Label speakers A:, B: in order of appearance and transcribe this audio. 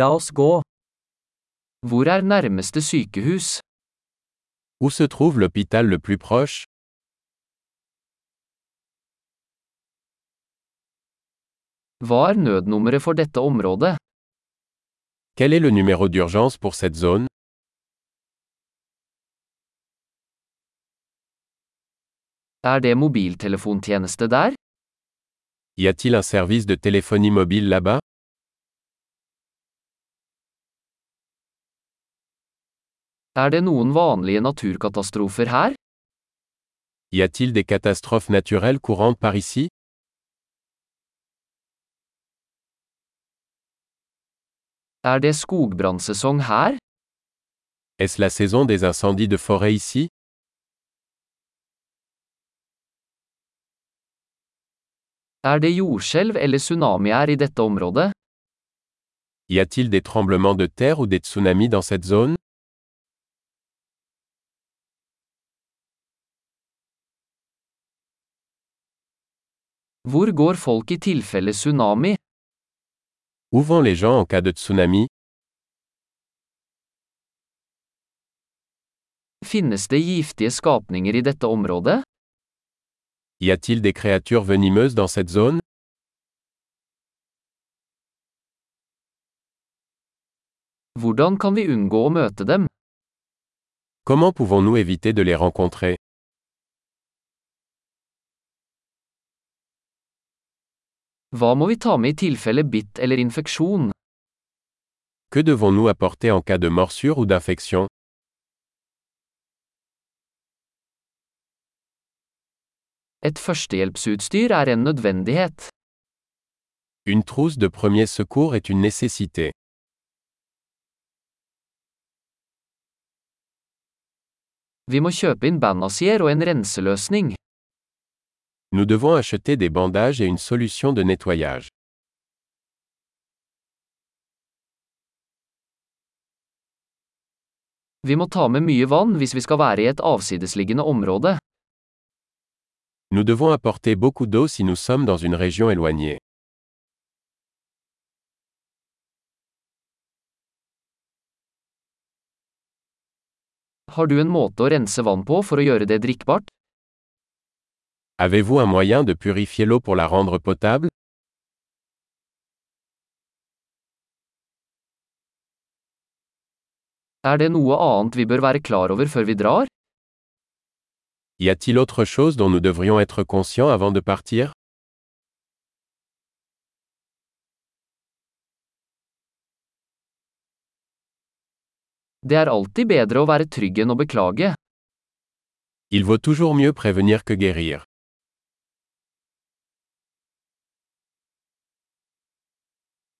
A: La oss gå. Hvor er nærmeste sykehus?
B: Où se trouve l'hôpital le plus proche
A: Hva er nødnummeret for dette området?
B: Quel est le numéro d'urgence pour cette zone
A: Er det mobiltelefontjeneste der?
B: Y a-t-il un service de téléphonie mobile là-bas
A: Er det noen vanlige naturkatastrofer her?
B: Y a-t-il des catastrophes naturelles courantes par ici
A: Er det skogbrannsesong her?
B: Est-ce la saison des incendies de forêt ici
A: Er det jordskjelv eller tsunami her i dette området?
B: Y a-t-il des tremblements de terre ou des tsunamis dans cette zone
A: Hvor går folk i tilfelle tsunami?
B: Où vont les gens en cas de tsunami
A: Finnes det giftige skapninger i dette området?
B: Y a-t-il des créatures venimeuses dans cette zone
A: Hvordan kan vi unngå å møte dem?
B: Comment pouvons-nous éviter de les rencontrer
A: Hva må vi ta med i tilfelle bitt eller infeksjon?
B: Que devons-nous apporter en cas de morsure ou d'infection
A: Et førstehjelpsutstyr er en nødvendighet.
B: Une trousse de premier secours est une nécessité.
A: Vi må kjøpe inn bandasier og en renseløsning.
B: Nous devons acheter des bandages et une solution de nettoyage.
A: Vi må ta med mye vann hvis vi skal være i et avsidesliggende område.
B: Nous devons apporter beaucoup d'eau si nous sommes dans une région éloignée.
A: Har du en måte å rense vann på for å gjøre det drikkbart?
B: Avez-vous un moyen de purifier l'eau pour la rendre potable
A: Er det noe annet vi bør være klar over før vi drar?
B: Y a-t-il autre chose dont nous devrions être conscients avant de partir
A: Det er alltid bedre å være trygg enn å beklage.
B: Il vaut toujours mieux prévenir que guérir.